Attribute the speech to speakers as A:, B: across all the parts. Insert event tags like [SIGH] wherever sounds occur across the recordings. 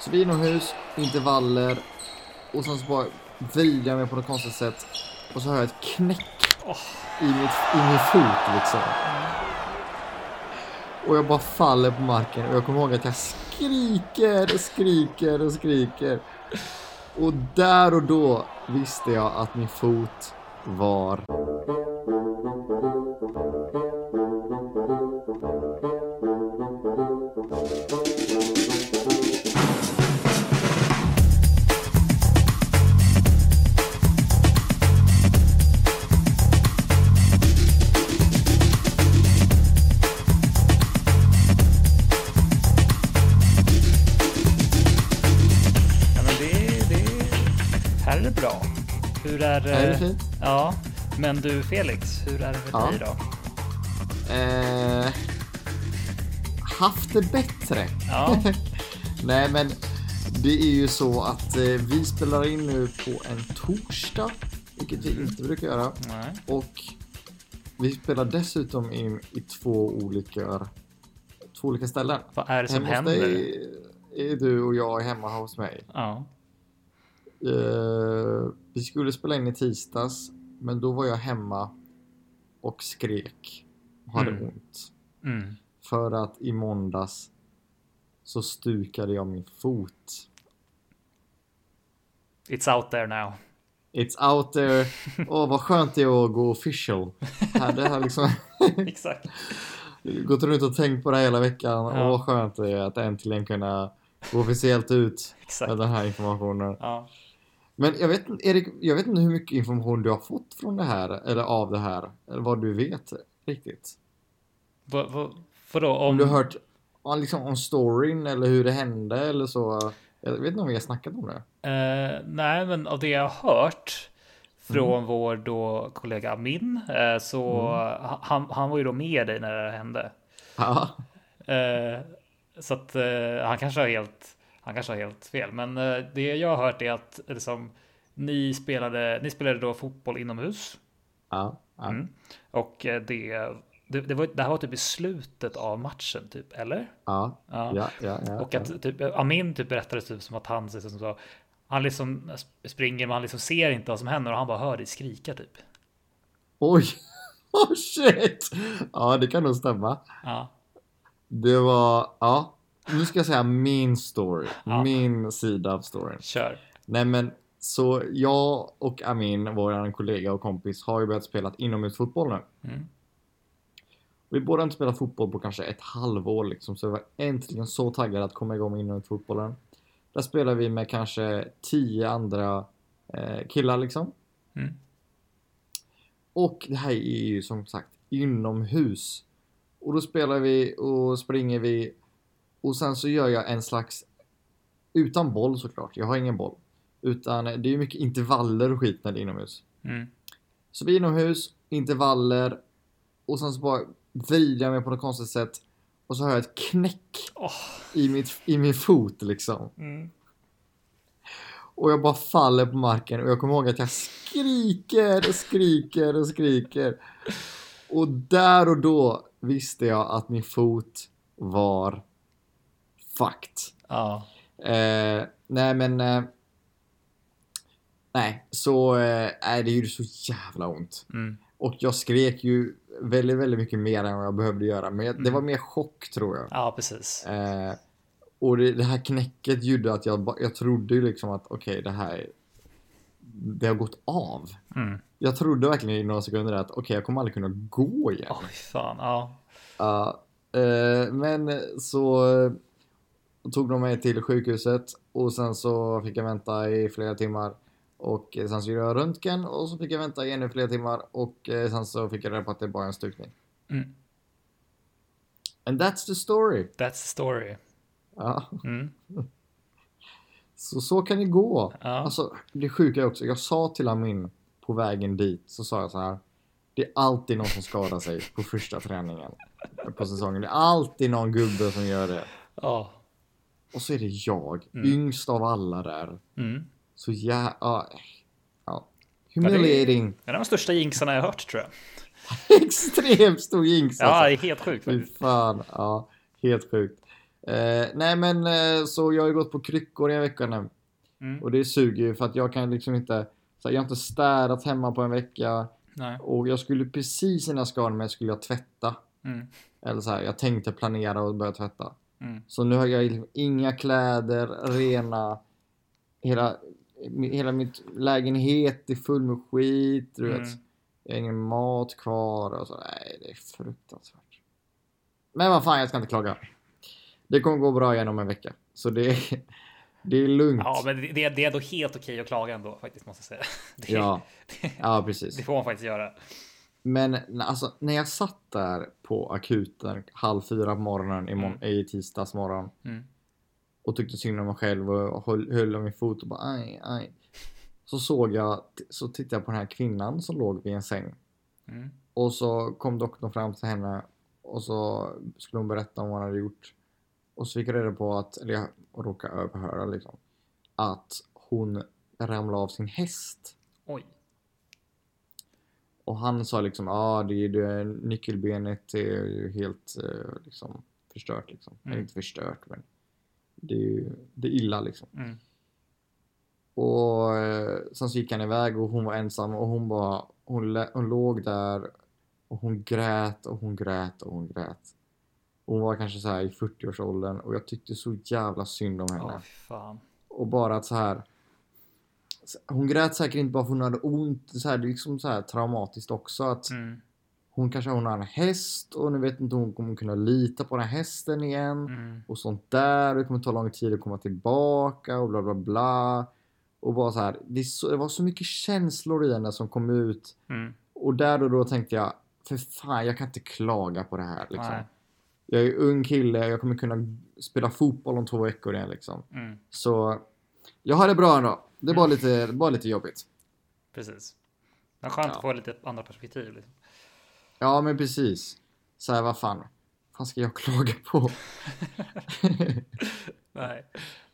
A: Så det är inomhus, intervaller och sen så bara vrider jag mig på något konstigt sätt och så hör jag ett knäck i, mitt, i min fot liksom. Och jag bara faller på marken och jag kommer ihåg att jag skriker och skriker och skriker. Och där och då visste jag att min fot var...
B: Ja, men det, det, här är det bra. Hur är,
A: Är det
B: eh,
A: fint?
B: Ja, men du Felix, hur är det för
A: Ja.
B: dig då?
A: Eh, haft det bättre.
B: Ja,
A: [LAUGHS] Nej, men det är ju så att eh, vi spelar in nu på en torsdag, vilket vi inte brukar göra.
B: nej.
A: Och vi spelar dessutom in i två olika, två olika ställen.
B: Vad är det som
A: hemma
B: händer?
A: hos dig är du och jag är hemma hos mig.
B: Ja,
A: Eh, vi skulle spela in i tisdags, men då var jag hemma och skrek och hade
B: Mm.
A: ont.
B: mm.
A: För att i måndags så stukade jag min fot.
B: it's out
A: [LAUGHS]
B: there now.
A: It's out there. Åh, vad skönt det är att gå official. Här, det här liksom...
B: Exakt.
A: gått runt och tänkt på det här hela veckan. Åh,
B: Ja.
A: vad skönt det är att äntligen kunna gå officiellt ut med
B: Exakt.
A: den här informationen.
B: Ja.
A: Men jag vet, inte- Erik, jag vet inte hur mycket information du har fått från det här, eller av det här, eller vad du vet riktigt.
B: Vad, vad, vadå?
A: Om du har
B: Om,
A: hört ja, liksom, om storyn eller hur det hände eller så. Jag vet inte om vi har snackat om det.
B: Eh, nej, men av det jag har hört från
A: Mm.
B: vår då kollega Amin, eh, så ha- han, han var ju då med dig när det här hände.
A: Ja,
B: Eh, så att eh, han kanske har helt, han kanske har helt fel. Men eh, det jag har hört är att eh, liksom, ni spelade, ni spelade då fotboll inomhus
A: ja, ja.
B: Mm. och eh, det, det, det, var, det här var typ i slutet av matchen typ, eller?
A: ja,
B: Ja.
A: ja, ja, ja.
B: Och att typ, Amin typ berättade typ som att han liksom, så, han liksom sp- springer men han liksom ser inte vad som händer och han bara hör dig skrika typ.
A: Oj! [LAUGHS] Oh shit! Ja, det kan nog stämma.
B: Ja,
A: Det var, ja. Nu ska jag säga min story.
B: Ja.
A: Min sida av storyn.
B: kör.
A: Nej men, så jag och Amin, vår kollega och kompis, har ju börjat spela inomhusfotboll nu.
B: Mm.
A: Vi båda har inte spelat fotboll på kanske ett halvår liksom, så jag var äntligen så taggad att komma igång med inomhusfotbollen. Där spelar vi med kanske tio andra eh, killar liksom.
B: Mm.
A: Och det här är ju som sagt inomhus. Och då spelar vi och springer vi. Och sen så gör jag en slags, utan boll såklart, jag har ingen boll. Utan det är ju mycket intervaller och skit när det är inomhus.
B: Mm.
A: Så vi är inomhus, intervaller och sen så bara vrider jag mig på något konstigt sätt och så hör jag ett knäck
B: Åh,
A: i, mitt, i min fot liksom.
B: mm.
A: Och jag bara faller på marken och jag kommer ihåg att jag skriker och skriker och skriker. Och där och då visste jag att min fot var fucked.
B: Ja,
A: Eh, nej men... Eh, nej, så... Eh, nej, det gjorde så jävla ont.
B: mm.
A: Och jag skrek ju väldigt, väldigt mycket mer än vad jag behövde göra. Men jag, det
B: Mm.
A: var mer chock tror jag.
B: ja precis.
A: Eh, och det, det här knäcket gjorde att jag, ba- jag trodde ju liksom att okej, det här... Det har gått av.
B: Mm.
A: Jag trodde verkligen i några sekunder att okej, jag kommer aldrig kunna gå igen.
B: Oj, fan. Ja.
A: Ja, eh, men så eh, tog de mig till sjukhuset och sen så fick jag vänta i flera timmar. Och eh, sen så gjorde jag röntgen och så fick jag vänta i ännu flera timmar och eh, sen så fick jag reda på att det bara är en stukning.
B: Mm.
A: And that's the story.
B: That's the story.
A: Ja,
B: Mm.
A: så så kan det gå.
B: Ja.
A: Alltså, det sjuka är också, jag sa till Amin på vägen dit så sa jag så här. Det är alltid någon som skadar sig på första träningen på säsongen. Det är alltid någon gubbe som gör det.
B: Ja.
A: Och så är det jag,
B: Mm.
A: yngst av alla där.
B: Mm.
A: Så jä... Ja. ja.
B: det är- [LAUGHS]
A: Humiliating.
B: Det är de största jinxarna jag har hört tror jag.
A: Extremt stor jinx
B: Ja,
A: alltså. Mm.
B: det är helt sjukt
A: Fy
B: faktiskt.
A: fan. Ja, helt sjukt. Eh, nej men eh, så jag har ju gått på kryckor i en vecka nu.
B: Mm.
A: Och det suger ju för att jag kan liksom inte, så här, jag har inte städat hemma på en vecka.
B: Nej.
A: Och jag skulle precis innan jag skadade mig skulle jag tvätta.
B: Mm.
A: Eller så här, jag tänkte planera och börja tvätta.
B: Mm.
A: Så nu har jag liksom inga kläder, rena. Hela, mi- hela mitt lägenhet är full med skit. Du
B: Mm.
A: vet. Jag har ingen mat kvar. Och så, nej, det är fruktansvärt. Men vad fan, jag ska inte klaga. Det kommer gå bra igen om en vecka. Så det är, det är lugnt.
B: Ja, men det, det det är ändå helt okej att klaga ändå faktiskt måste jag säga. [LAUGHS] Det,
A: ja,
B: det,
A: ja, precis.
B: det får man faktiskt göra.
A: Men n- alltså, när jag satt där på akuten halv fyra på morgonen i, mon- i tisdags morgon
B: Mm.
A: och tyckte synd om mig själv och höll, höll om min fot och bara aj, aj. Så såg jag, så tittade jag på den här kvinnan som låg vid en säng
B: Mm.
A: och så kom doktorn fram till henne och så skulle hon berätta om vad hon hade gjort. Och så fick jag reda på att, eller jag råkade överhöra liksom, att hon ramlade av sin häst.
B: Oj.
A: Och han sa liksom, ja ah, det, är- det är nyckelbenet är ju helt eh, liksom förstört liksom.
B: Mm.
A: Eller inte förstört men det är ju det är illa liksom.
B: Mm.
A: Och eh, sen så gick han iväg och hon var ensam och hon bara, hon, lä- hon låg där och hon grät och hon grät och hon grät. Hon var kanske så här i 40-årsåldern och jag tyckte så jävla synd om henne.
B: Ja, fy fan.
A: Och bara att så här. Hon grät säkert inte bara för hon hade ont. Så här, det är liksom så här traumatiskt också. Att
B: Mm.
A: Hon kanske hon har en häst och nu vet inte hon kommer kunna lita på den här hästen igen.
B: Mm.
A: Och sånt där. Och det kommer ta lång tid att komma tillbaka och bla bla bla. Och bara så här. Det, är så, det var så mycket känslor i henne som kom ut.
B: Mm.
A: Och där och då tänkte jag. För fan, jag kan inte klaga på det här. Liksom.
B: Nej.
A: Jag är ung kille. Jag kommer kunna spela fotboll om två veckor igen. Liksom.
B: Mm.
A: Så jag har det bra ändå. Det är bara lite, bara lite jobbigt.
B: Precis. Men skönt
A: Ja.
B: att få lite andra perspektiv. Liksom.
A: Ja, men precis. Så här, vad fan. fan ska jag [LAUGHS] klaga
B: [LAUGHS]
A: på?
B: Nej,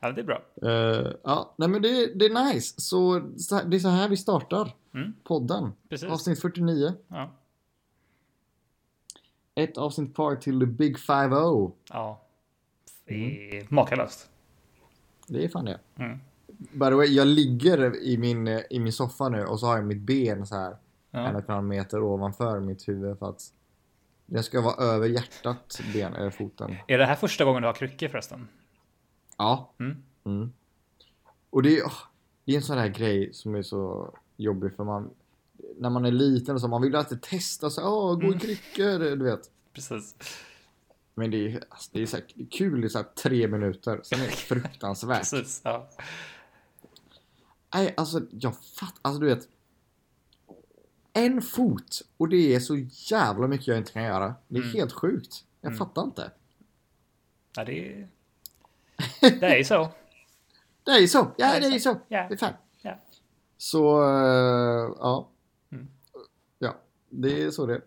B: ja, men det är bra.
A: Eh, ja, nej men det, det är nice. Så, så här- det är så här vi startar
B: Mm.
A: podden.
B: Precis.
A: Avsnitt 49.
B: Ja.
A: Ett avsnitt kvar till the big 5-0.
B: ja. Det
A: Mm.
B: är makalöst.
A: Det är fan det.
B: Mm.
A: By the way, jag ligger i min, eh, i min soffa nu och så har jag mitt ben så här en och
B: Ja.
A: en halv meter ovanför mitt huvud för att det ska vara över hjärtat, ben, eller foten.
B: Är det här första gången du har kryckor förresten?
A: Ja,
B: Mm.
A: Mm. Och det är, åh, det är en sån här grej som är så jobbig för man när man är liten och så, man vill ju alltid testa så åh,
B: Mm.
A: gå i kryckor, du vet.
B: Precis.
A: Men det är, alltså, det är så här, det är kul i så här tre minuter, sen är det
B: [LAUGHS]
A: fruktansvärt.
B: Precis. Ja.
A: Nej, alltså jag fattar, alltså du vet. En fot och det är så jävla mycket jag inte kan göra. Det är
B: Mm.
A: helt sjukt. Jag fattar inte.
B: ja,
A: [LAUGHS]
B: det är... Det är ju så.
A: Det är ju så, ja det är ju så.
B: Ja.
A: Det är fan.
B: Ja.
A: Så, eh, ja.
B: Mm.
A: Ja, det är så det är.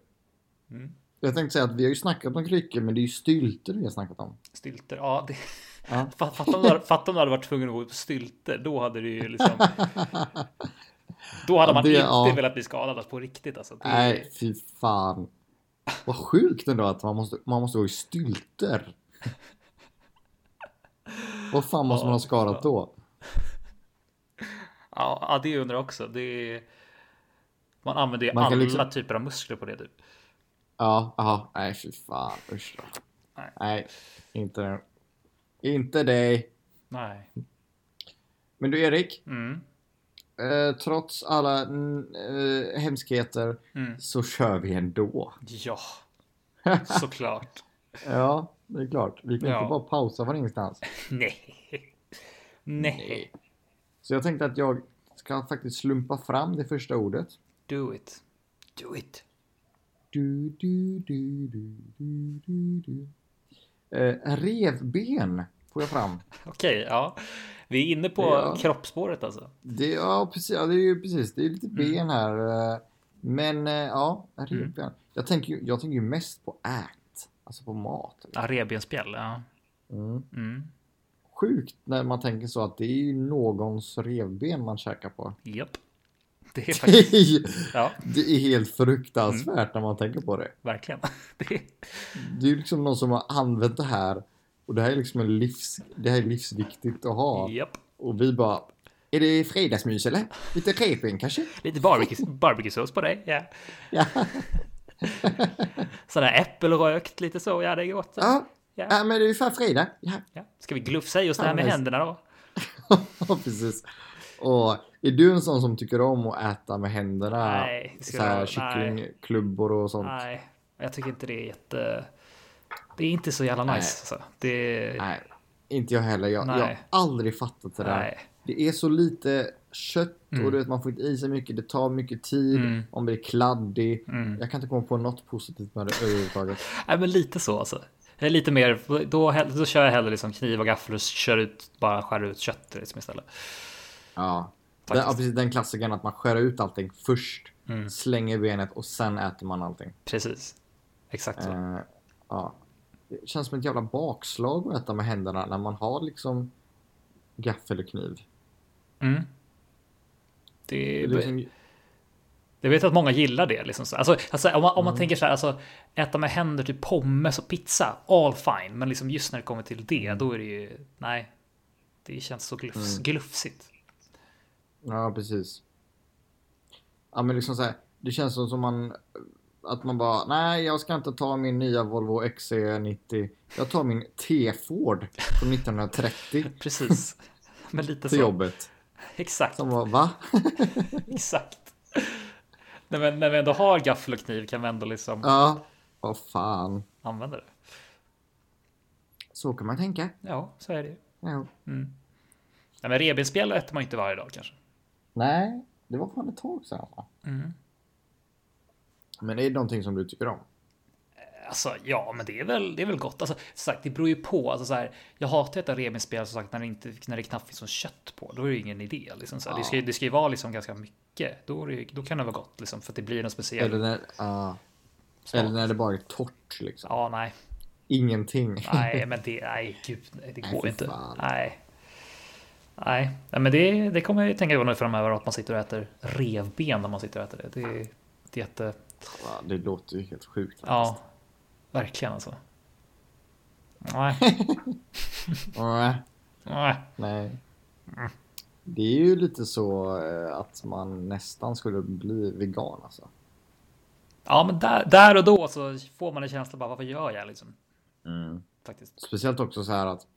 B: Mm.
A: Jag tänkte säga att vi har ju snackat om kryckor, men det är ju stylter vi har snackat om.
B: Stylter. Ja, det... [LAUGHS]
A: Ja.
B: Fa- Fatta om, du hade- fatta om du hade varit tvungen att gå ut på stylter. Då hade du
A: [LAUGHS]
B: ju liksom... Då hade
A: Ja,
B: man
A: det-
B: inte
A: ja.
B: velat bli skadad på riktigt. Alltså. Det...
A: Nej, fy fan. Vad sjukt ändå att man måste, man måste gå i
B: [LAUGHS]
A: stylter. Vad fan måste
B: Ja,
A: man ha
B: fy
A: skadat
B: fan.
A: då?
B: Ja, ja, det undrar jag också. Det är... Man använder ju
A: Man kan
B: alla
A: liksom-
B: typer av muskler på det. Typ.
A: Ja, aha. Nej, fy fan. Usch då.
B: Nej.
A: Nej, inte det. Inte dig.
B: Nej.
A: Men du Erik,
B: Mm.
A: eh, trots alla mm, eh, hemskheter
B: Mm.
A: så kör vi ändå. [LAUGHS]
B: Ja, såklart.
A: Ja, det är klart. Vi kan
B: Ja.
A: inte bara pausa från ingenstans.
B: Nej. Nej.
A: Så jag tänkte att jag ska faktiskt slumpa fram det första ordet.
B: Do it. Do it.
A: Du, du, du, du, du, du, du. Eh, revben får jag fram.
B: Okej, ja. Vi är inne på
A: Ja.
B: kroppsspåret alltså.
A: Det, ja, precis, ja, det är ju precis. Det är lite ben här. eh, Men eh, ja, revben. Jag, tänker, ju- jag tänker ju mest på ät. Alltså på mat.
B: Ja, revbensspjäll. Ja.
A: Mm.
B: Mm.
A: Sjukt när man tänker så att det är ju någons revben man käkar på.
B: Japp.
A: [LAUGHS]
B: Det är
A: det
B: faktiskt...
A: är-
B: Ja,
A: det är helt
B: Mm.
A: fruktansvärt när man tänker på det.
B: verkligen. [LAUGHS] Det är...
A: Det är ju liksom någon som har använt det här Och det här är liksom en livs, det här är livsviktigt att ha.
B: Japp.
A: Och vi bara, är det fredagsmys eller? Lite revben kanske? [LAUGHS]
B: Lite barbecue, barbecuesås på dig. Ja.
A: Ja.
B: Sån där äppelrökt lite så. Ja, det är gott.
A: Ja,
B: Ja.
A: ja men det är ju fan fredag. Ja. [LAUGHS]
B: Ja. Ska vi glufsa i oss det här
A: Ja,
B: med
A: men-
B: händerna då?
A: Ja, precis. Och är du en sån som tycker om att äta med händerna?
B: Nej,
A: så här,
B: ska jag- nej.
A: kycklingklubbor och sånt. Nej.
B: Nej, jag tycker inte det är jätte... Det är inte så jävla nice.
A: Nej.
B: Alltså. Det...
A: Inte jag heller. Jag, jag har
B: Nej.
A: aldrig fattat det där.
B: Nej.
A: Det är så lite kött
B: Mm.
A: och du vet, man får inte i sig mycket. Det tar mycket tid.
B: Mm.
A: Om det är kladdig.
B: Mm.
A: Jag kan inte komma på något positivt med det överhuvudtaget.
B: Nej, men lite så alltså. Eh, Lite mer, då, hell- då kör jag hellre liksom kniv och gaffel och kör ut, bara skär ut kött liksom istället.
A: Ja. Den, ja,
B: Faktiskt.
A: precis, den klassikern att man skär ut allting först.
B: Mm.
A: Slänger benet och sen äter man allting.
B: Precis. Exakt så.
A: Eh, ja. Det känns som ett jävla bakslag att äta med händerna när man har liksom gaffel och kniv.
B: Mm.
A: Det
B: Det,
A: är liksom,
B: jag vet att många gillar det. Liksom. så. Alltså, alltså, om, man, om man tänker så här, alltså, äta med händer, typ pommes och pizza, all fine. Men liksom just när det kommer till det, då är det ju, nej. Det känns så glufs, glufsigt.
A: ja, precis. Ja, men liksom så här, det känns som som man att man bara nej, jag ska inte ta min nya Volvo XC90. Jag tar min T-Ford från 1930
B: Precis. men lite
A: till
B: så.
A: jobbet.
B: Exakt.
A: Som var va?
B: Exakt. Nej, men när vi ändå har gaffel och kniv kan vi ändå liksom
A: Ja, vad fan.
B: använda det.
A: Så kan man tänka.
B: Ja, så är det ju.
A: Ja.
B: Nej, men revbensspjäll äter man inte varje dag kanske.
A: Nej, det var fan ett tag sedan. va?
B: Mm.
A: Men det är någonting som du tycker om.
B: Alltså, ja, men det är väl, det är väl gott. Alltså, som sagt, det beror ju på. Alltså, så här, jag hatar att äta revbensspjäll som sagt när det, inte, när det knappt finns något kött på. Då är det ju ingen idé. Liksom, så här. Det, ska, ju- det ska ju vara liksom ganska mycket. Då, är det, ju- då kan det vara gott liksom, för att det blir något speciellt.
A: Eller när, ja.
B: smak.
A: eller när det bara är torrt liksom.
B: Ja, nej,
A: Ingenting.
B: nej, men det, nej, gud, nej, det
A: Nej,
B: går
A: fy
B: inte.
A: fan.
B: Nej. Nej, nej, men det, det kommer jag ju tänka på nu framöver att man sitter och äter revben när man sitter och äter det. Det, är- det är jätte,
A: Ja, det låter ju helt sjukt.
B: ja, verkligen alltså. Nej,
A: Nej,
B: nej.
A: nej. Det är ju lite så eh, att man nästan skulle bli vegan alltså.
B: Ja, men där, där och då så får man en känsla bara varför gör jag liksom? Faktiskt.
A: Speciellt också så här att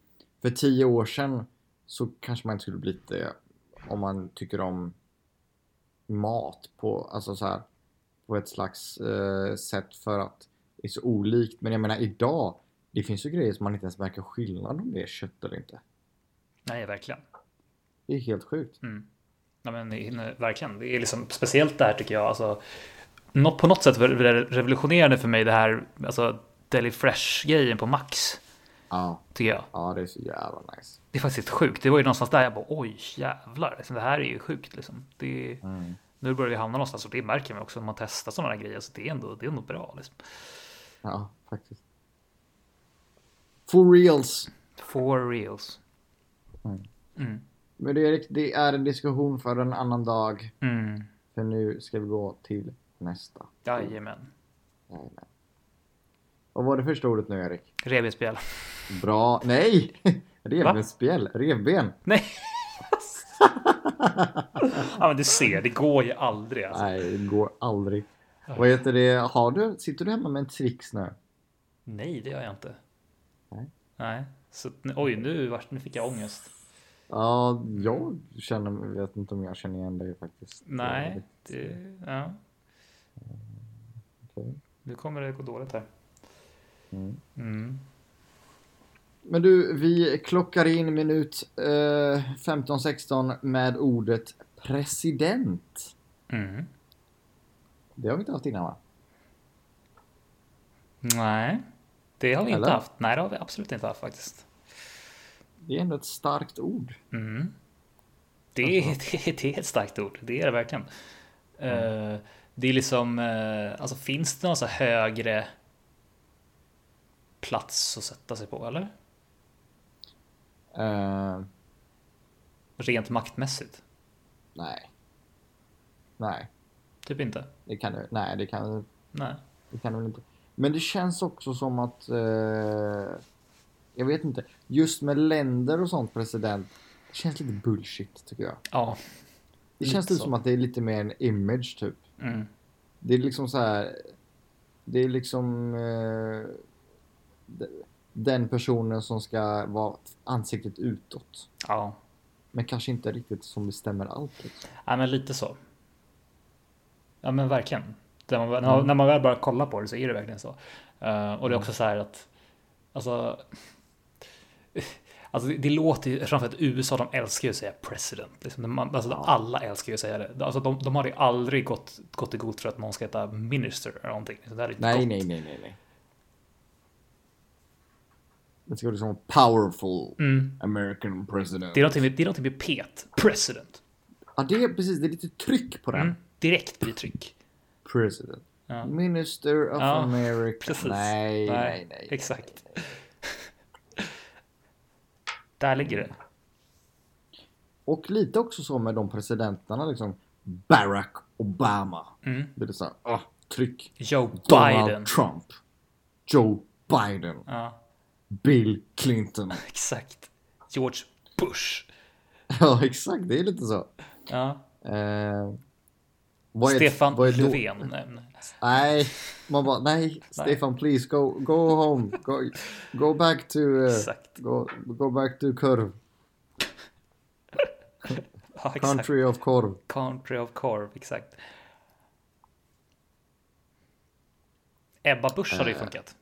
A: för tio år sedan så kanske man inte skulle bli det om man tycker om mat på, alltså så här, på ett slags eh, sätt för att det är så olikt. Men jag menar idag, det finns ju grejer som man inte ens märker skillnad om det är kött eller inte.
B: Nej, verkligen.
A: Det är helt sjukt.
B: Nej, men det är- nej, verkligen. Det är liksom speciellt det här tycker jag. Alltså, nå- på något sätt var det revolutionerande för mig det här, alltså Deli Fresh grejen på Max
A: Ja,
B: tycker jag.
A: ja det är så jävla nice.
B: Det är faktiskt sjukt. Det var ju någonstans där jag bara oj jävlar, liksom, det här är ju sjukt liksom. Det är, Nu börjar vi hamna någonstans och det märker man också när man testar sådana här grejer. Så det är ändå, det är ändå bra liksom.
A: Ja, faktiskt. For reals.
B: For reals. Mm.
A: Men det är, det är en diskussion för en annan dag.
B: Mm.
A: För nu ska vi gå till nästa.
B: Jajamän.
A: Jajamän. Vad var det första ordet nu Erik?
B: Revbensspjäll.
A: Bra. Nej! [LAUGHS]
B: Va?
A: Revbensspjäll. Revben.
B: Nej! [LAUGHS] ja men du ser, det går ju aldrig alltså.
A: Nej, det går aldrig. Vad heter det? Har du? Sitter du hemma med en Trix nu?
B: Nej, det gör jag inte.
A: Nej.
B: Nej. Så, att- oj, nu, vart- nu fick jag ångest.
A: Ja, jag känner, vet inte om jag känner igen dig faktiskt.
B: Nej, det, ja.
A: Okej.
B: nu kommer det gå dåligt här.
A: Mm.
B: Mm.
A: Men du, vi klockar in minut eh, 15-16 med ordet president.
B: Mm.
A: Det har vi inte haft innan va?
B: Nej, det har vi inte
A: Eller?
B: haft. Nej, det har vi absolut inte haft faktiskt.
A: Det är ändå ett starkt ord.
B: Mm. Det, är,
A: Alltså.
B: det, är- [LAUGHS] det är ett starkt ord, det är det verkligen.
A: Mm.
B: Eh, det är liksom, eh, alltså finns det någon så här högre plats att sätta sig på eller?
A: Eh,
B: Rent maktmässigt?
A: nej. Nej,
B: Typ inte.
A: det kan du. Nej, det kan
B: Nej.
A: Det kan det väl inte. Men det känns också som att eh, Jag vet inte. Just med länder och sånt president. Det känns lite bullshit tycker jag.
B: Ja.
A: Det känns
B: Lite
A: lite
B: så.
A: som att det är lite mer en image typ.
B: Mm.
A: Det är liksom så här. Det är liksom. Eh, de- den personen som ska vara ansiktet utåt.
B: Ja.
A: Men kanske inte riktigt som bestämmer allt. Liksom.
B: ja, men lite så. Ja, men verkligen. När man, när,
A: Mm.
B: när man väl bara kollar på det så är det verkligen så. Eh, och det är också så här att. Alltså. [LAUGHS] Alltså det, det låter ju framförallt USA, de älskar ju att säga president. Liksom. Man, alltså, Alla älskar ju att säga det. Alltså, de, de har ju aldrig gått, gått i god för att någon ska heta minister eller någonting. Så det här är
A: Nej,
B: gott.
A: nej, nej, nej, nej. Det ska liksom vara powerful American president.
B: Mm. Det är någonting med, det är någonting med pet. President.
A: Ja, det är precis. Det är lite tryck på den.
B: Mm. Direkt blir tryck.
A: President.
B: Ja.
A: Minister of
B: Ja,
A: America.
B: Precis.
A: Nej, nej, nej.
B: Exakt. Där ligger det.
A: Och lite också så med de presidenterna liksom. Barack Obama.
B: Mm.
A: Det är så här, ah, tryck.
B: Joe
A: Donald
B: Biden.
A: Trump. Joe Biden.
B: Ja,
A: Bill Clinton. [LAUGHS]
B: exakt. George Bush.
A: ja, exakt. Det är lite så.
B: Ja.
A: Eh, vad är-
B: Stefan
A: vad är då-
B: Löfven. Nej, nej.
A: Nej, man bara
B: [LAUGHS]
A: nej, Stefan please go, go home, go, go back to, eh,
B: Exakt.
A: go, go back to kurv,
B: Ja, exakt. Country.
A: country of korv.
B: of Corv. Exakt. Ebba Busch hade ju
A: Eh.
B: funkat.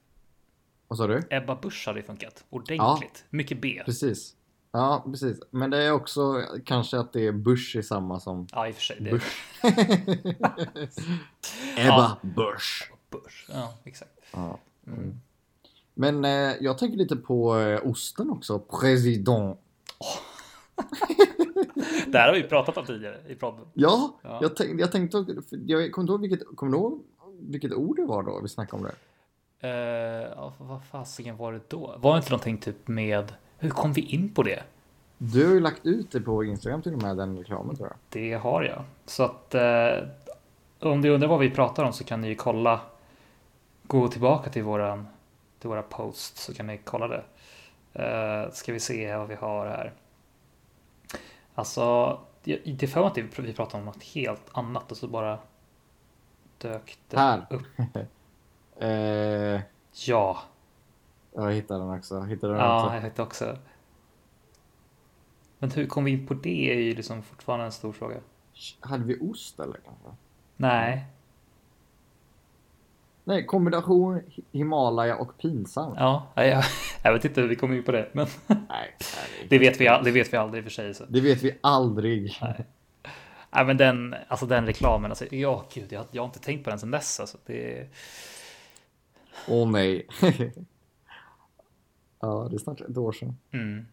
A: Vad sa du?
B: Ebba Busch hade ju funkat. Ordentligt. Mycket B.
A: Precis. Ja, precis. Men det är också kanske att det är Bush är samma som
B: Ja, i och för sig. Det är [LAUGHS]
A: Bush. Ebba Bush.
B: Bush. Ja, exakt.
A: Ja. Mm. Men eh, jag tänker lite på eh, osten också. President.
B: Det här har vi pratat om tidigare i podden.
A: Ja,
B: Ja.
A: Jag, tänk, jag tänkte, för jag kommer inte ihåg vilket, kommer du ihåg vilket ord det var då vi snackade om det?
B: Eh, ja, vad fasiken var det då? Var det inte någonting typ med... Hur kom vi in på det?
A: Du har ju lagt ut det på Instagram till och med, den reklamen tror jag.
B: Det har jag. Så att eh, om du undrar vad vi pratar om så kan ni ju kolla. Gå tillbaka till våran till våra posts så kan ni kolla det. Eh, ska vi se vad vi har här. Alltså, det det är för mig att vi pr- vi pratade om något helt annat och så bara dök det
A: Här.
B: upp.
A: [LAUGHS] Eh,
B: Ja,
A: jag hittade den också. Jag Hittade den
B: ja
A: också.
B: jag vet också. Men hur kom vi in på det är ju liksom fortfarande en stor fråga.
A: Hade vi ost eller? kanske?
B: Nej,
A: Mm. Nej, kombination Hi- Himalaya och pinsam.
B: ja, nej, jag, [LAUGHS] jag vet inte hur vi kom in på det. Men... [LAUGHS]
A: Nej, nej,
B: Det vet vi, all- det vet vi aldrig i och för sig. Så.
A: det vet vi aldrig.
B: Nej, men den, alltså den reklamen, alltså, ja gud, jag, jag har inte tänkt på den sedan dess. Alltså. Det, är-
A: Åh nej. [LAUGHS] ja, det är snart ett år sedan.
B: mm.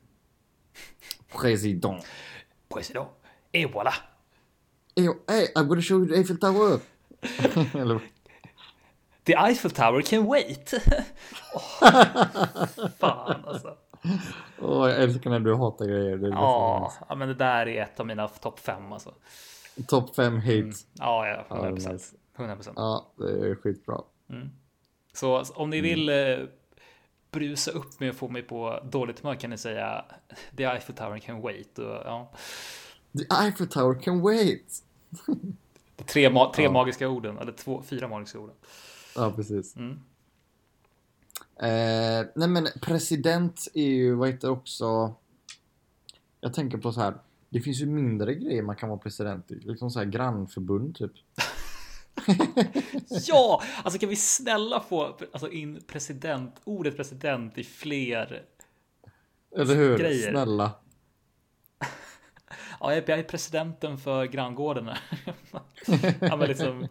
A: President.
B: President, et Eh, voilà!
A: Hey, hey, I'm gonna show you the Eiffel Tower. [LAUGHS] eller,
B: The Eiffel Tower can wait! [LAUGHS] oh, fan alltså.
A: åh, jag älskar när du hatar grejer. [LAUGHS] Det är
B: Ja, ja, men det där är ett av mina topp fem alltså.
A: liksom Topp 5 hate.
B: Ja, ja,
A: Ja, det är
B: 100 procent.
A: nice.
B: 100 procent.
A: Ja, det är skitbra.
B: Så alltså, om ni vill eh, brusa upp mig och få mig på dåligt humör kan ni säga [LAUGHS] The Eiffel Tower can wait. Och, ja.
A: The Eiffel Tower can wait.
B: De Tre, ma- tre
A: Ja.
B: magiska orden, eller två, fyra magiska orden.
A: Ja, precis.
B: Mm.
A: Eh, nej, men president är ju, vad heter också... Jag tänker på så här, det finns ju mindre grejer man kan vara president i. Liksom så här grannförbund, typ.
B: Ja, alltså kan vi snälla få alltså in president, ordet president i fler?
A: Eller hur?
B: Grejer.
A: Snälla.
B: Ja, jag jag är presidenten för granngården. här. [LAUGHS] ja, men liksom,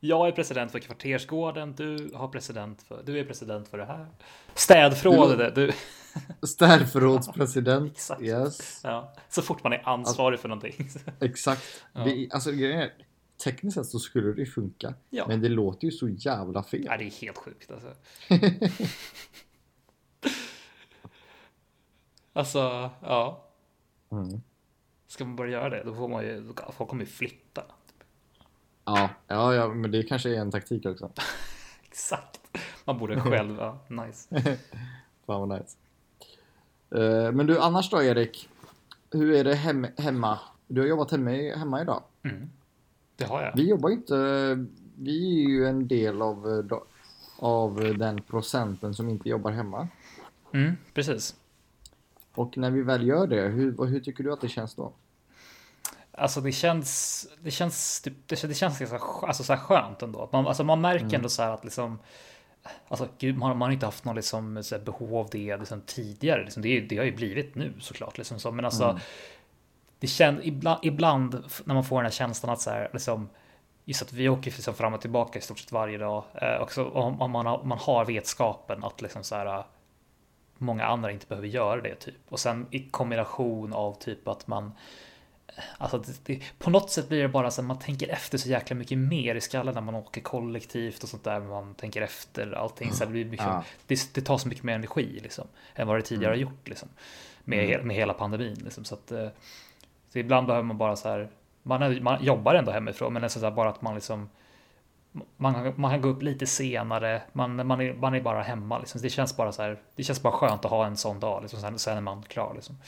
B: jag är president för kvartersgården, du, har president för, du är president för det här. Städförrådet, du. [LAUGHS]
A: Städförrådspresident.
B: Exakt.
A: Yes.
B: Ja, så fort man är ansvarig för någonting. [LAUGHS]
A: Exakt. Det, är- alltså, grejen är, tekniskt sett så skulle det ju funka.
B: Ja.
A: Men det låter ju så jävla fel.
B: Ja, det är helt sjukt alltså. alltså, ja.
A: Mm.
B: Ska man börja göra det, då får man ju, då- folk kommer ju flytta.
A: Ja, ja, ja, men det kanske är en taktik också.
B: Exakt. Man borde själv, ja, nice.
A: Fan vad nice. Eh, Men du, annars då Erik? Hur är det hem, hemma? Du har jobbat hemma, hemma idag.
B: Mm. Det har jag.
A: Vi jobbar ju inte... Vi är ju en del av, eh, da- av den procenten som inte jobbar hemma.
B: Mm, precis.
A: Och när vi väl gör det, hur, vad- hur tycker du att det känns då?
B: Alltså det känns, det känns, typ, det känns, det känns ganska skö- alltså så här skönt ändå. Att man, alltså man märker ändå så här att liksom, alltså gud, man, man har inte haft något liksom, så här behov av det liksom, tidigare. Liksom, det, är- det har ju blivit nu såklart. Liksom, så. Men alltså, det känns, ibland, ibland f- när man får den här känslan att så här, liksom, just att vi åker liksom fram och tillbaka i stort sett varje dag. Eh, och så, om, om, man har, om man har vetskapen att liksom så här, många andra inte behöver göra det. typ. Och sen i kombination av typ att man Alltså det, det, på något sätt blir det bara så att man tänker efter så jäkla mycket mer i skallen när man åker kollektivt och sånt där. Man tänker efter allting. Så det, blir mycket,
A: Ja.
B: det, det tar så mycket mer energi liksom, än vad det tidigare har gjort. Liksom, med, hel- med hela pandemin. Liksom, så att, eh, så ibland behöver man bara så här. Man, är, man jobbar ändå hemifrån, men det är så där bara att man liksom. Man, man kan gå upp lite senare. Man, man, är, man är bara hemma. Liksom. Det känns bara så här. Det känns bara skönt att ha en sån dag. Liksom. Sen, sen är man klar. Liksom.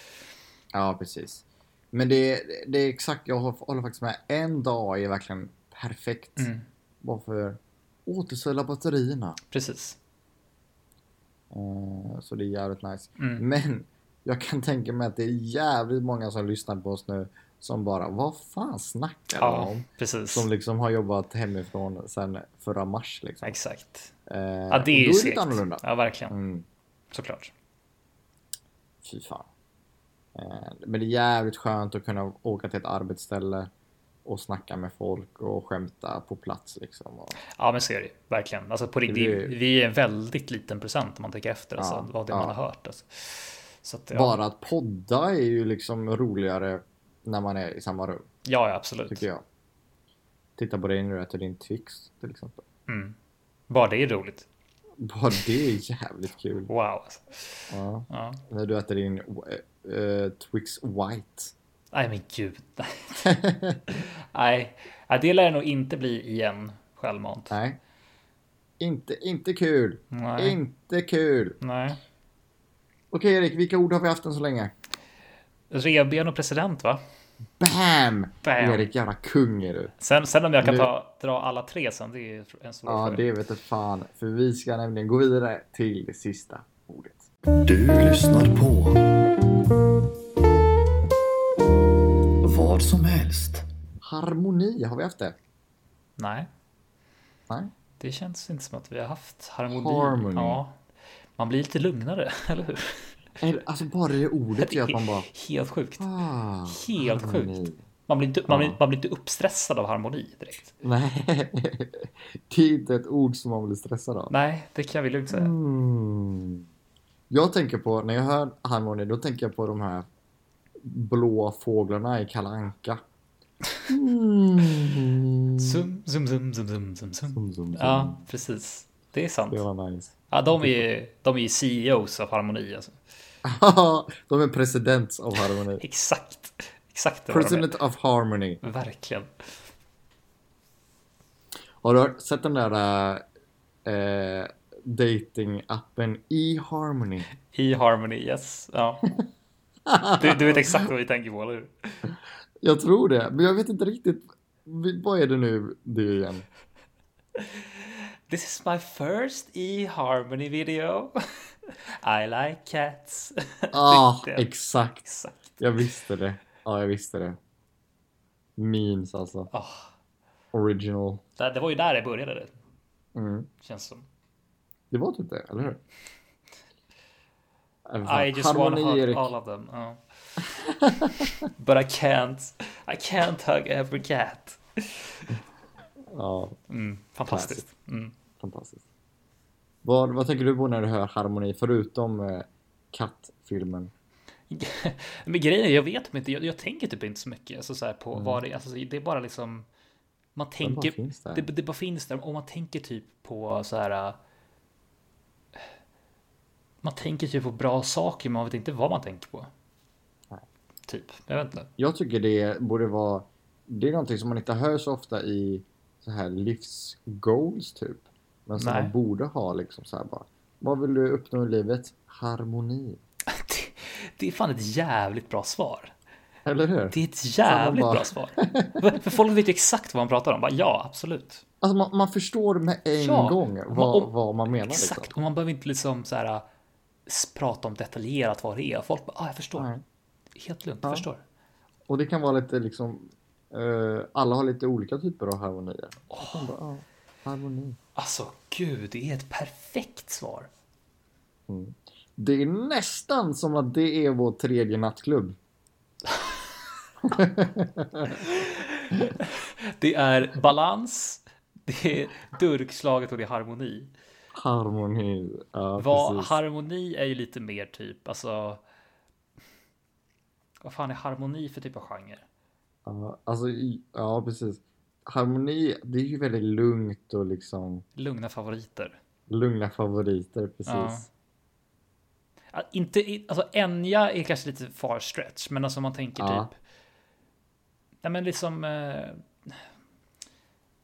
A: Ja, precis. Men det, det är exakt, jag håller håller faktiskt med. En dag är verkligen perfekt.
B: Mm.
A: Bara för att återställa batterierna.
B: Precis.
A: Eh, Så det är jävligt nice.
B: Mm.
A: Men jag kan tänka mig att det är jävligt många som lyssnar på oss nu som bara, vad fan snackar de
B: Ja,
A: om?
B: precis.
A: Som liksom har jobbat hemifrån sedan förra mars. Liksom.
B: Exakt.
A: Eh,
B: Ja,
A: och
B: det är
A: då
B: ju
A: lite
B: segt.
A: annorlunda.
B: Ja, verkligen.
A: Mm,
B: Såklart.
A: fy fan. Eh, men det är jävligt skönt att kunna åka till ett arbetsställe och snacka med folk och skämta på plats liksom. Och,
B: Ja, men så är det ju. Verkligen. Alltså på riktigt,
A: blir
B: det-
A: ju-
B: vi är en väldigt liten procent om man tänker efter. Alltså,
A: Ja,
B: vad det
A: ja.
B: man har hört. Alltså. Så att, ja.
A: Bara att podda är ju liksom roligare när man är i samma rum,
B: ja, ja, absolut.
A: tycker jag. Titta på dig nu till din Twix till exempel.
B: Mm. Bara det är roligt.
A: Bara det är jävligt kul.
B: Wow. Alltså.
A: Ja.
B: Ja.
A: När du äter din eh, eh, Twix White.
B: Nej, men gud. [LAUGHS] Nej, Ja, det lär det nog inte bli igen självmant.
A: Nej. Inte, inte kul.
B: Nej.
A: Inte kul.
B: Nej.
A: Okej Erik, vilka ord har vi haft än så länge?
B: Revben och president, va?
A: Bam!
B: Bam.
A: Erik, jävla kung är du.
B: Sen, sen om jag kan
A: Nu-
B: ta, dra alla tre sen, det är ju en svår
A: Ja,
B: fråga.
A: det vet du fan. För vi ska nämligen gå vidare till det sista ordet.
C: Du lyssnar på vad som helst.
A: Harmoni, har vi haft det?
B: Nej.
A: Nej?
B: Det känns inte som att vi har haft harmoni.
A: Harmony.
B: Ja. Man blir lite lugnare, [LAUGHS] eller hur?
A: Eller, Alltså bara [LAUGHS] det ordet gör att man bara...
B: Helt sjukt.
A: Ah,
B: Helt
A: harmoni. [LAUGHS]
B: sjukt. Man blir, inte, man, blir,
A: Ja.
B: man blir inte uppstressad av harmoni direkt.
A: Nej, det är inte ett ord som man blir stressad av.
B: Nej, det kan vi lugnt säga.
A: Mm. Jag tänker på, när jag hör harmoni, då tänker jag på de här blå fåglarna i Kalle Anka. [LAUGHS] Mm.
B: Zum, zum, zum, zum, zum, zum, zum.
A: Zoom, zoom, zoom.
B: Ja, precis. Det är sant.
A: Det var nice. [LAUGHS]
B: Ja, de är ju de är ju CEOs av harmoni. Alltså.
A: de är presidents of harmoni.
B: Exakt. Exakt [LAUGHS] det var de är.
A: President of harmony.
B: Verkligen.
A: Har du hört- sett den där eh, dating-appen E e-harmony?
B: I harmony, yes. Ja. Du, du vet exakt vad vi tänker på, eller hur?
A: Jag tror det, men jag vet inte riktigt. Vi- Vad är det nu det är igen?
B: This is my first eHarmony video. [LAUGHS] I like cats. [LAUGHS]
A: Ah,
B: Det-
A: exakt.
B: Exakt.
A: Jag visste det. Ja, jag visste det. Memes alltså.
B: Ah,
A: Original.
B: det, det var ju där det började, det
A: Mm.
B: känns som.
A: Det var typ det, eller hur? Äh,
B: I just wanna hug
A: Erik.
B: all of them. ja. But I can't. I can't hug every cat.
A: Ja,
B: Mm, fantastiskt. Mm.
A: fantastiskt. Vad, vad tänker du på när du hör harmoni, förutom eh, kattfilmen?
B: [LAUGHS] Men grejen är, jag vet inte, jag, jag tänker typ inte så mycket alltså, så här, på vad det är. Alltså, det är bara liksom, man
A: Den Mm. bara
B: tänker,
A: finns där.
B: det, det bara finns där. Om man tänker typ på så här. äh, Man tänker typ på bra saker, men man vet inte vad man tänker på. Typ, jag vet inte. [LAUGHS]
A: Jag tycker det borde vara... Det är någonting som man inte hör så ofta i så här livsgoals typ. Men som
B: Nej.
A: man borde ha liksom så här bara. Vad vill du uppnå i livet? Harmoni.
B: Det, Det är fan ett jävligt bra svar.
A: Eller hur?
B: Det är ett jävligt
A: bara-
B: bra svar. För- För folk vet ju exakt vad man pratar om. Bara, ja, absolut.
A: Alltså man, man förstår med en
B: Ja.
A: gång
B: Och-
A: vad,
B: och-
A: vad man menar.
B: Exakt,
A: Liksom.
B: och man behöver inte liksom så här s- prata om detaljerat vad det är. Folk bara, ah, jag förstår.
A: Nej.
B: Helt lugnt,
A: Mm. Ja.
B: förstår.
A: Och det kan vara lite liksom, eh, alla har lite olika typer av harmonier. Man bara, ja, harmoni.
B: Alltså gud, det är ett perfekt svar.
A: Det är nästan som att det är vår tredje nattklubb.
B: Det är balans, det är durkslaget och det är harmoni.
A: Harmoni. Ja,
B: Vad,
A: precis.
B: harmoni är ju lite mer typ, alltså. Vad fan är harmoni för typ av genre?
A: ja, alltså, i- ja, precis. Harmoni, det är ju väldigt lugnt och liksom
B: Lugna favoriter.
A: lugna favoriter. Precis.
B: Ja. Ah, Inte, i- alltså Enya är kanske lite far stretch, men alltså om man tänker
A: Ja.
B: typ. Nej men liksom. Eh,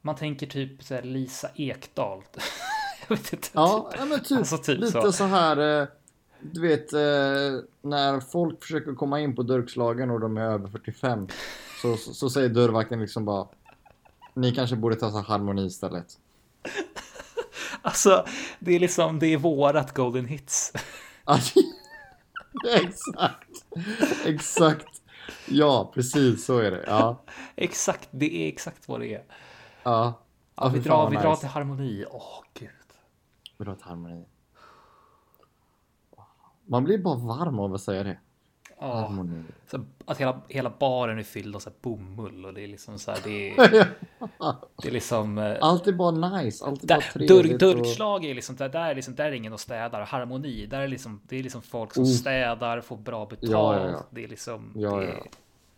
B: man tänker typ så här Lisa Ekdahl. [LAUGHS] Jag vet inte.
A: Ja, ja men typ,
B: Alltså, typ
A: lite
B: så.
A: så, här. eh, Du vet eh, när folk försöker komma in på dörrslagen och de är över 45 så, så, så säger dörrvakten liksom bara ni kanske borde ta så här harmoni istället. [LAUGHS]
B: Alltså, det är liksom, det är vårat Golden Hits. [LAUGHS]
A: Alltså, exakt. Exakt. Ja, precis så är det. Ja.
B: Exakt, det är exakt vad det är.
A: Ja. ja
B: vi
A: fy fan
B: drar,
A: vad
B: vi drar
A: nice.
B: till harmoni. Åh, gud.
A: Vi drar till harmoni. Man blir bara varm av att säga det.
B: Ja.
A: Harmoni.
B: Så här, att hela, hela baren är fylld av så här bomull och det är liksom så här, det
A: [LAUGHS]
B: är, det är liksom... eh,
A: Allt är bara nice. Allt är bara
B: Där, dörr,
A: trevligt. och-
B: dörrkslag är liksom, där, där, är liksom, där är ingen och städar. Harmoni, där är liksom, det är liksom folk som
A: Oh.
B: städar, får bra betalt.
A: Ja, ja, ja.
B: Det är liksom...
A: Ja,
B: det,
A: ja.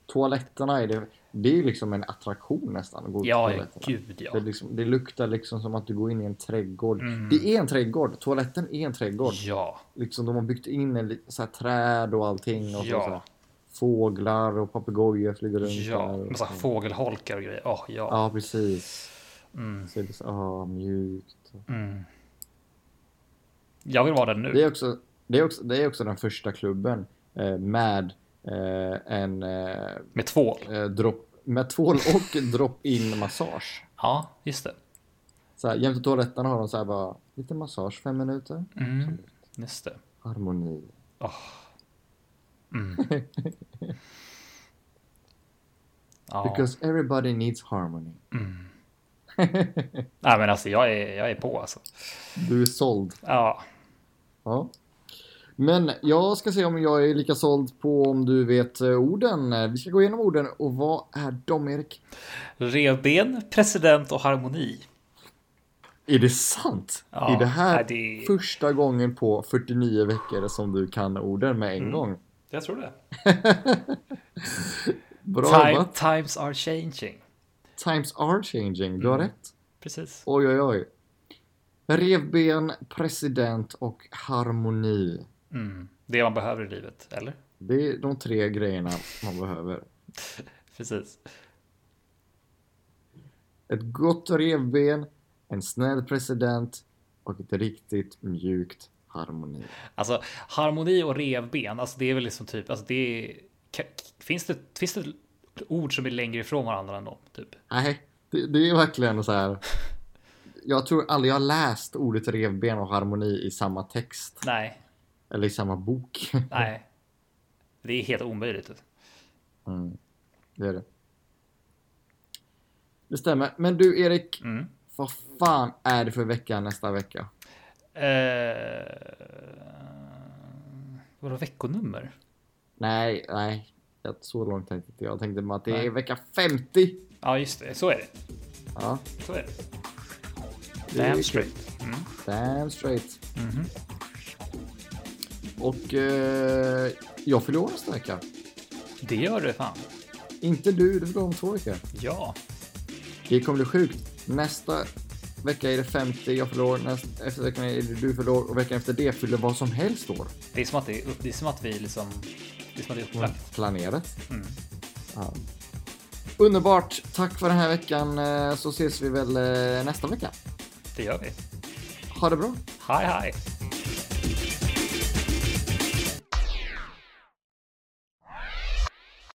A: Toaletterna är det. Det är ju liksom en attraktion nästan. Att gå ut
B: ja,
A: på
B: ja,
A: toaletterna.
B: gud ja. Mm.
A: Det, är liksom, det luktar liksom som att du går in i en trädgård. Det är en trädgård. Toaletten är en trädgård.
B: Ja,
A: Liksom, de har byggt in en, li- så här, träd och allting. Och så,
B: Ja.
A: så här, fåglar och papegojor flyger runt.
B: ja.
A: där och
B: Massa
A: så.
B: fågelholkar och grejer. Åh, ja.
A: Ja, precis.
B: Mm.
A: Så det är så, ah, mjukt.
B: Mm. Jag vill vara där nu.
A: Det är, också, det, är också, det är också den första klubben eh, med eh, en eh,
B: Med tvål.
A: eh, drop, med tvål och drop-in massage.
B: Ja, just det.
A: Så här, jämte toaletten har de så här bara lite massage, fem minuter.
B: Mm. Just det.
A: Harmoni.
B: Åh.
A: [LAUGHS]
B: Mm. ja.
A: Because everybody needs harmony.
B: Nej, men alltså jag är, jag är på alltså.
A: Du är såld.
B: Ja,
A: Ja. Men jag ska se om jag är lika såld på om du vet eh, orden. Eh, Vi ska gå igenom orden och vad är de Erik?
B: revben, president och harmoni.
A: Är det sant?
B: Ja,
A: är det här
B: nej, det-
A: första gången på 49 veckor som du kan orden med en
B: Mm.
A: gång?
B: Jag tror det.
A: Bra
B: Time,
A: jobbat.
B: times are changing.
A: Times are changing. Du har
B: Mm.
A: rätt.
B: Precis.
A: Oj, oj, oj. Revben, president och harmoni.
B: Mm. Det man behöver i livet, eller?
A: Det är de tre grejerna man behöver.
B: Precis.
A: Ett gott revben, en snäll president och ett riktigt mjukt harmoni.
B: Alltså harmoni och revben, alltså det är väl liksom typ, alltså det är, ka- finns, det, finns det ord som är längre ifrån varandra än dem? Typ?
A: Nej, det, det är verkligen så här. Jag tror aldrig jag har läst ordet revben och harmoni i samma text
B: Nej,
A: eller i samma bok. [LAUGHS]
B: nej. Det är helt omöjligt.
A: Mm, det är det. Det stämmer. Men du Erik,
B: Mm.
A: vad fan är det för vecka nästa vecka?
B: Eh, vadå veckonummer?
A: Nej, nej. Jag- Så långt tänkte inte jag. Jag tänkte bara att det
B: Nej.
A: är vecka 50.
B: Ja, just det. Så är det.
A: Ja,
B: Så är det.
A: Det är
B: Damn
A: kul.
B: straight. Mm.
A: damn straight. Och eh, jag fyller år nästa vecka.
B: Det gör det fan.
A: Inte du, du fyller år om två veckor.
B: Ja.
A: Det kommer bli sjukt. Nästa vecka är det 50, jag fyller år. Nästa, efter veckan är det du fyller år och veckan efter det fyller vad som helst år.
B: Det är som att, det är, upp- det är, som att vi liksom... Det är som att det är upplagt.
A: Planerat.
B: Mm.
A: Ja. Underbart. Tack för den här veckan eh, så ses vi väl eh, nästa vecka.
B: Det gör vi.
A: Ha det bra.
B: Hej, hej.